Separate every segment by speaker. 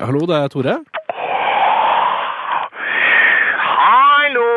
Speaker 1: Hallo, det er Tore.
Speaker 2: Hallo,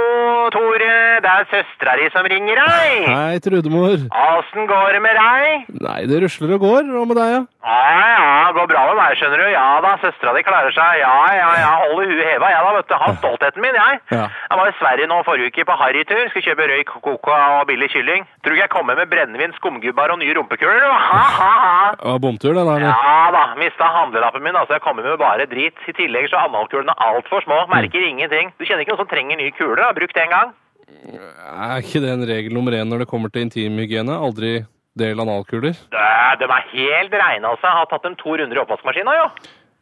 Speaker 2: Tore. Det er søstera di som ringer deg.
Speaker 1: Hei, Trudemor.
Speaker 2: Åssen går det med deg?
Speaker 1: Nei, det rusler og går. Og med deg, ja?
Speaker 2: Ja, ja, går bra med meg, skjønner du. Ja da, søstera di klarer seg. Ja, ja, ja. Holder huet heva, jeg da, vet du. Har stoltheten min, jeg.
Speaker 1: Ja.
Speaker 2: Jeg var i Sverige nå forrige uke på harrytur. Skulle kjøpe røyk, coca og billig kylling. Tror ikke jeg kommer med brennevin, skumgubbar og nye rumpekuler, du. Ha, ha, ha.
Speaker 1: Det var bomtur, den der.
Speaker 2: Ja da, mista handlelappen min, altså. Jeg kommer med bare drit. I tillegg så er analkulene altfor små. Merker
Speaker 1: Mm.
Speaker 2: ingenting. Du kjenner ikke noen som trenger nye kuler? da? Brukt en gang.
Speaker 1: Er ikke det en regel nummer én når det kommer til intimhygiene? Aldri del analkuler.
Speaker 2: Dø, De er helt reine, altså. Har tatt dem to runder i oppvaskmaskina, jo.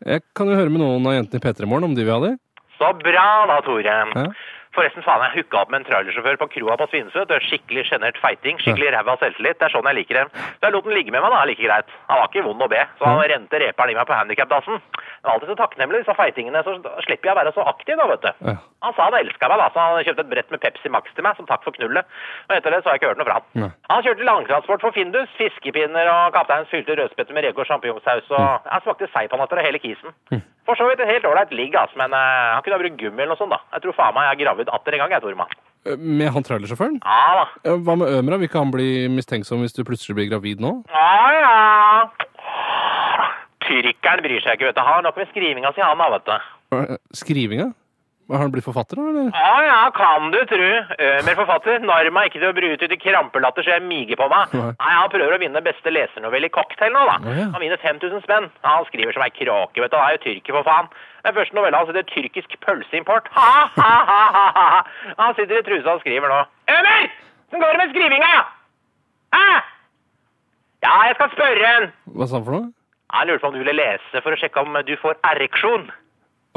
Speaker 1: Jeg kan jo høre med noen av jentene i P3 Morgen om de vil ha de.
Speaker 2: Så bra da, Tore.
Speaker 1: Ja.
Speaker 2: Forresten, faen, jeg hooka opp med en trailersjåfør på kroa på Svinesund. Det er Skikkelig sjenert feiting, skikkelig ræva selvtillit. Det er sånn jeg liker dem. Så jeg lot den ligge med meg, da. Like greit. Han var ikke vond å be, så han rente reperen i meg på handikapdassen. Det var alltid så takknemlig, disse feitingene. Så slipper jeg å være så aktiv, da, vet du.
Speaker 1: Ja.
Speaker 2: Han sa han elska meg, da, så han kjøpte et brett med Pepsi Max til meg som takk for knullet. Og etter det så har jeg ikke hørt noe fra han.
Speaker 1: Nei.
Speaker 2: Han kjørte langtransport for Findus, fiskepinner og kapteins fylte rødspetter med reker og sjampinjongsaus, og jeg smakte seipanetter og hele kisen. For så vidt et helt ålreit ligg, altså, men eh, han kunne ha brukt gummi eller noe sånt, da. Jeg tror faen meg jeg er gravid atter en gang, jeg, Tormann.
Speaker 1: Med han trailersjåføren?
Speaker 2: Ja da.
Speaker 1: Eh, Hva med Ømra? Vil ikke han bli mistenksom hvis du plutselig blir gravid nå?
Speaker 2: Ja ja. Tyrkeren bryr seg ikke, vet du. Han har nok med skrivinga si, han da, vet du.
Speaker 1: Eh, Skrivinga? Har han blitt forfatter, da? Eller?
Speaker 2: Ja, ja, kan du tru. Ømer forfatter narr meg ikke til å bryte ut i krampelatter så jeg miger på meg.
Speaker 1: Nei.
Speaker 2: Nei, han prøver å vinne beste lesernovelle i cocktail nå, da.
Speaker 1: Å, ja.
Speaker 2: Han vinner 5000 spenn. Ja, han skriver som ei kråke, vet du. Han er jo tyrker, for faen. Den første novella hans heter 'Tyrkisk pølseimport'. Ha, ha, ha, ha, ha, ha. Han sitter i trusa og skriver nå. Ømer! Hvordan går det med skrivinga? Hæ? Ja, jeg skal spørre en.
Speaker 1: Hva sa han for noe?
Speaker 2: Ja, Jeg lurte på om du ville lese for å sjekke om du får ereksjon.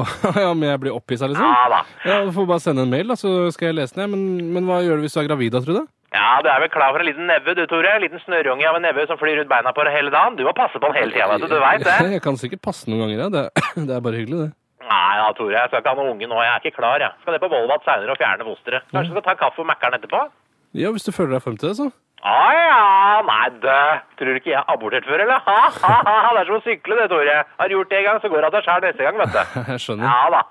Speaker 1: ja, men jeg blir opphissa, liksom?
Speaker 2: Ja da.
Speaker 1: Ja, Du får bare sende en mail, da, så skal jeg lese den. jeg. Men, men hva gjør du hvis du er gravid, da, Trude?
Speaker 2: Ja, du er vel klar for en liten neve, du, Tore. En liten snørrunge av en neve som flyr rundt beina på deg hele dagen. Du må passe på den hele tida, vet Altså, du. Du veit det.
Speaker 1: Jeg kan sikkert passe noen ganger, ja. Det, det er bare hyggelig, det.
Speaker 2: Nei ja, Tore. Jeg skal ikke ha noen unge nå. Jeg er ikke klar, jeg. Skal ned på Volvat seinere og fjerne fosteret. Kanskje jeg skal ta en kaffe med Mækkern etterpå?
Speaker 1: Ja, hvis du føler deg frem til det, så.
Speaker 2: Å ja. Nei, dø. Tror du ikke jeg har abortert før, eller? Ha, ha, ha. Det er som å sykle, det, Tore. Har du gjort det en gang, så går det av deg sjæl neste gang, vet du.
Speaker 1: Jeg skjønner.
Speaker 2: Ja da.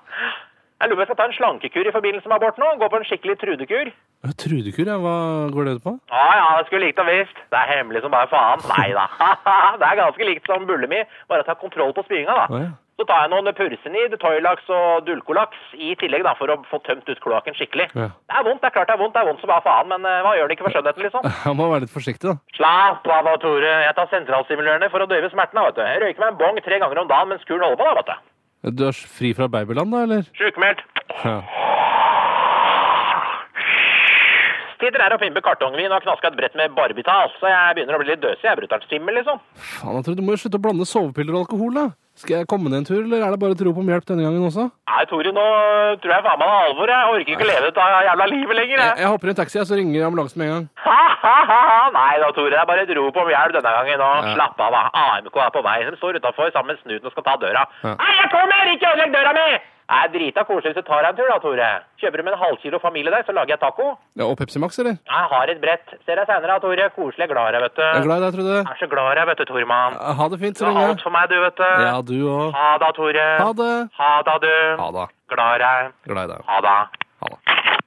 Speaker 2: Jeg lurer på om jeg skal ta en slankekur i forbindelse med abort nå. Gå på en skikkelig trudekur.
Speaker 1: Ja, Trudekur, ja. Hva går det ut på?
Speaker 2: Ja, ja, jeg skulle likt å visst. Det er hemmelig som bare faen. Nei da. det er ganske likt som bulle mi, bare at jeg har kontroll på spyinga, da.
Speaker 1: Å, ja.
Speaker 2: Så tar jeg noen Pursenid, Toilaks og Dulcolaks i tillegg, da, for å få tømt ut kloakken skikkelig.
Speaker 1: Ja.
Speaker 2: Det er vondt, det er klart det er vondt, det er vondt som bare faen, men eh, hva gjør det ikke for skjønnheten, liksom?
Speaker 1: Jeg må være litt forsiktig, da.
Speaker 2: Slapp av, da, Tore. Jeg tar sentralstimulerende for å døyve smertene, vet du. Jeg røyker meg en bong tre ganger om dagen mens kuren holder på, da, vet du.
Speaker 1: Du er fri fra babyland, da, eller?
Speaker 2: Sjukmeldt.
Speaker 1: Ja.
Speaker 2: Sitter her og pimper kartongvin og knasker et brett med barbital, så jeg begynner å bli litt døsig. Jeg er brutter'n svimmel, liksom.
Speaker 1: Faen, jeg tror du må jo slutte å blande sovepiller og alkohol, da. Skal jeg komme ned en tur, eller er det bare tro på om hjelp denne gangen også?
Speaker 2: Nei, Tore, nå tror jeg faen meg det er alvor. Jeg orker ikke leve dette jævla livet lenger.
Speaker 1: Jeg,
Speaker 2: Jeg.
Speaker 1: jeg hopper i en taxi, jeg, så ringer ambulansen med en gang.
Speaker 2: Ha, ha, ha, ha. Nei da, Tore, det er bare et rop om hjelp denne gangen. Og
Speaker 1: Ja.
Speaker 2: slapp av, da. AMK er på vei. De står utafor sammen med snuten og skal ta døra.
Speaker 1: Ja.
Speaker 2: Nei, jeg kommer! Ikke ødelegg døra mi! Nei, drita koselig hvis du tar deg en tur, da, Tore. Kjøper du med en halvkilo familie der, så lager jeg taco.
Speaker 1: Ja, og Pepsi Max, eller?
Speaker 2: Jeg har et brett. Ser deg seinere, Tore. Koselig. Jeg er Glad i deg, vet
Speaker 1: Jeg er
Speaker 2: du.
Speaker 1: glad i deg, Trude.
Speaker 2: Jeg er så glad i deg, vet du, Tormann.
Speaker 1: Ha det fint
Speaker 2: Du
Speaker 1: så
Speaker 2: har alt
Speaker 1: lenge.
Speaker 2: for meg, du, vet du.
Speaker 1: Ja, du òg.
Speaker 2: Ha da, Tore.
Speaker 1: Ha det.
Speaker 2: Ha da, du.
Speaker 1: Ha det.
Speaker 2: Glad i deg.
Speaker 1: Glad i deg.
Speaker 2: Ha da.
Speaker 1: Ha det.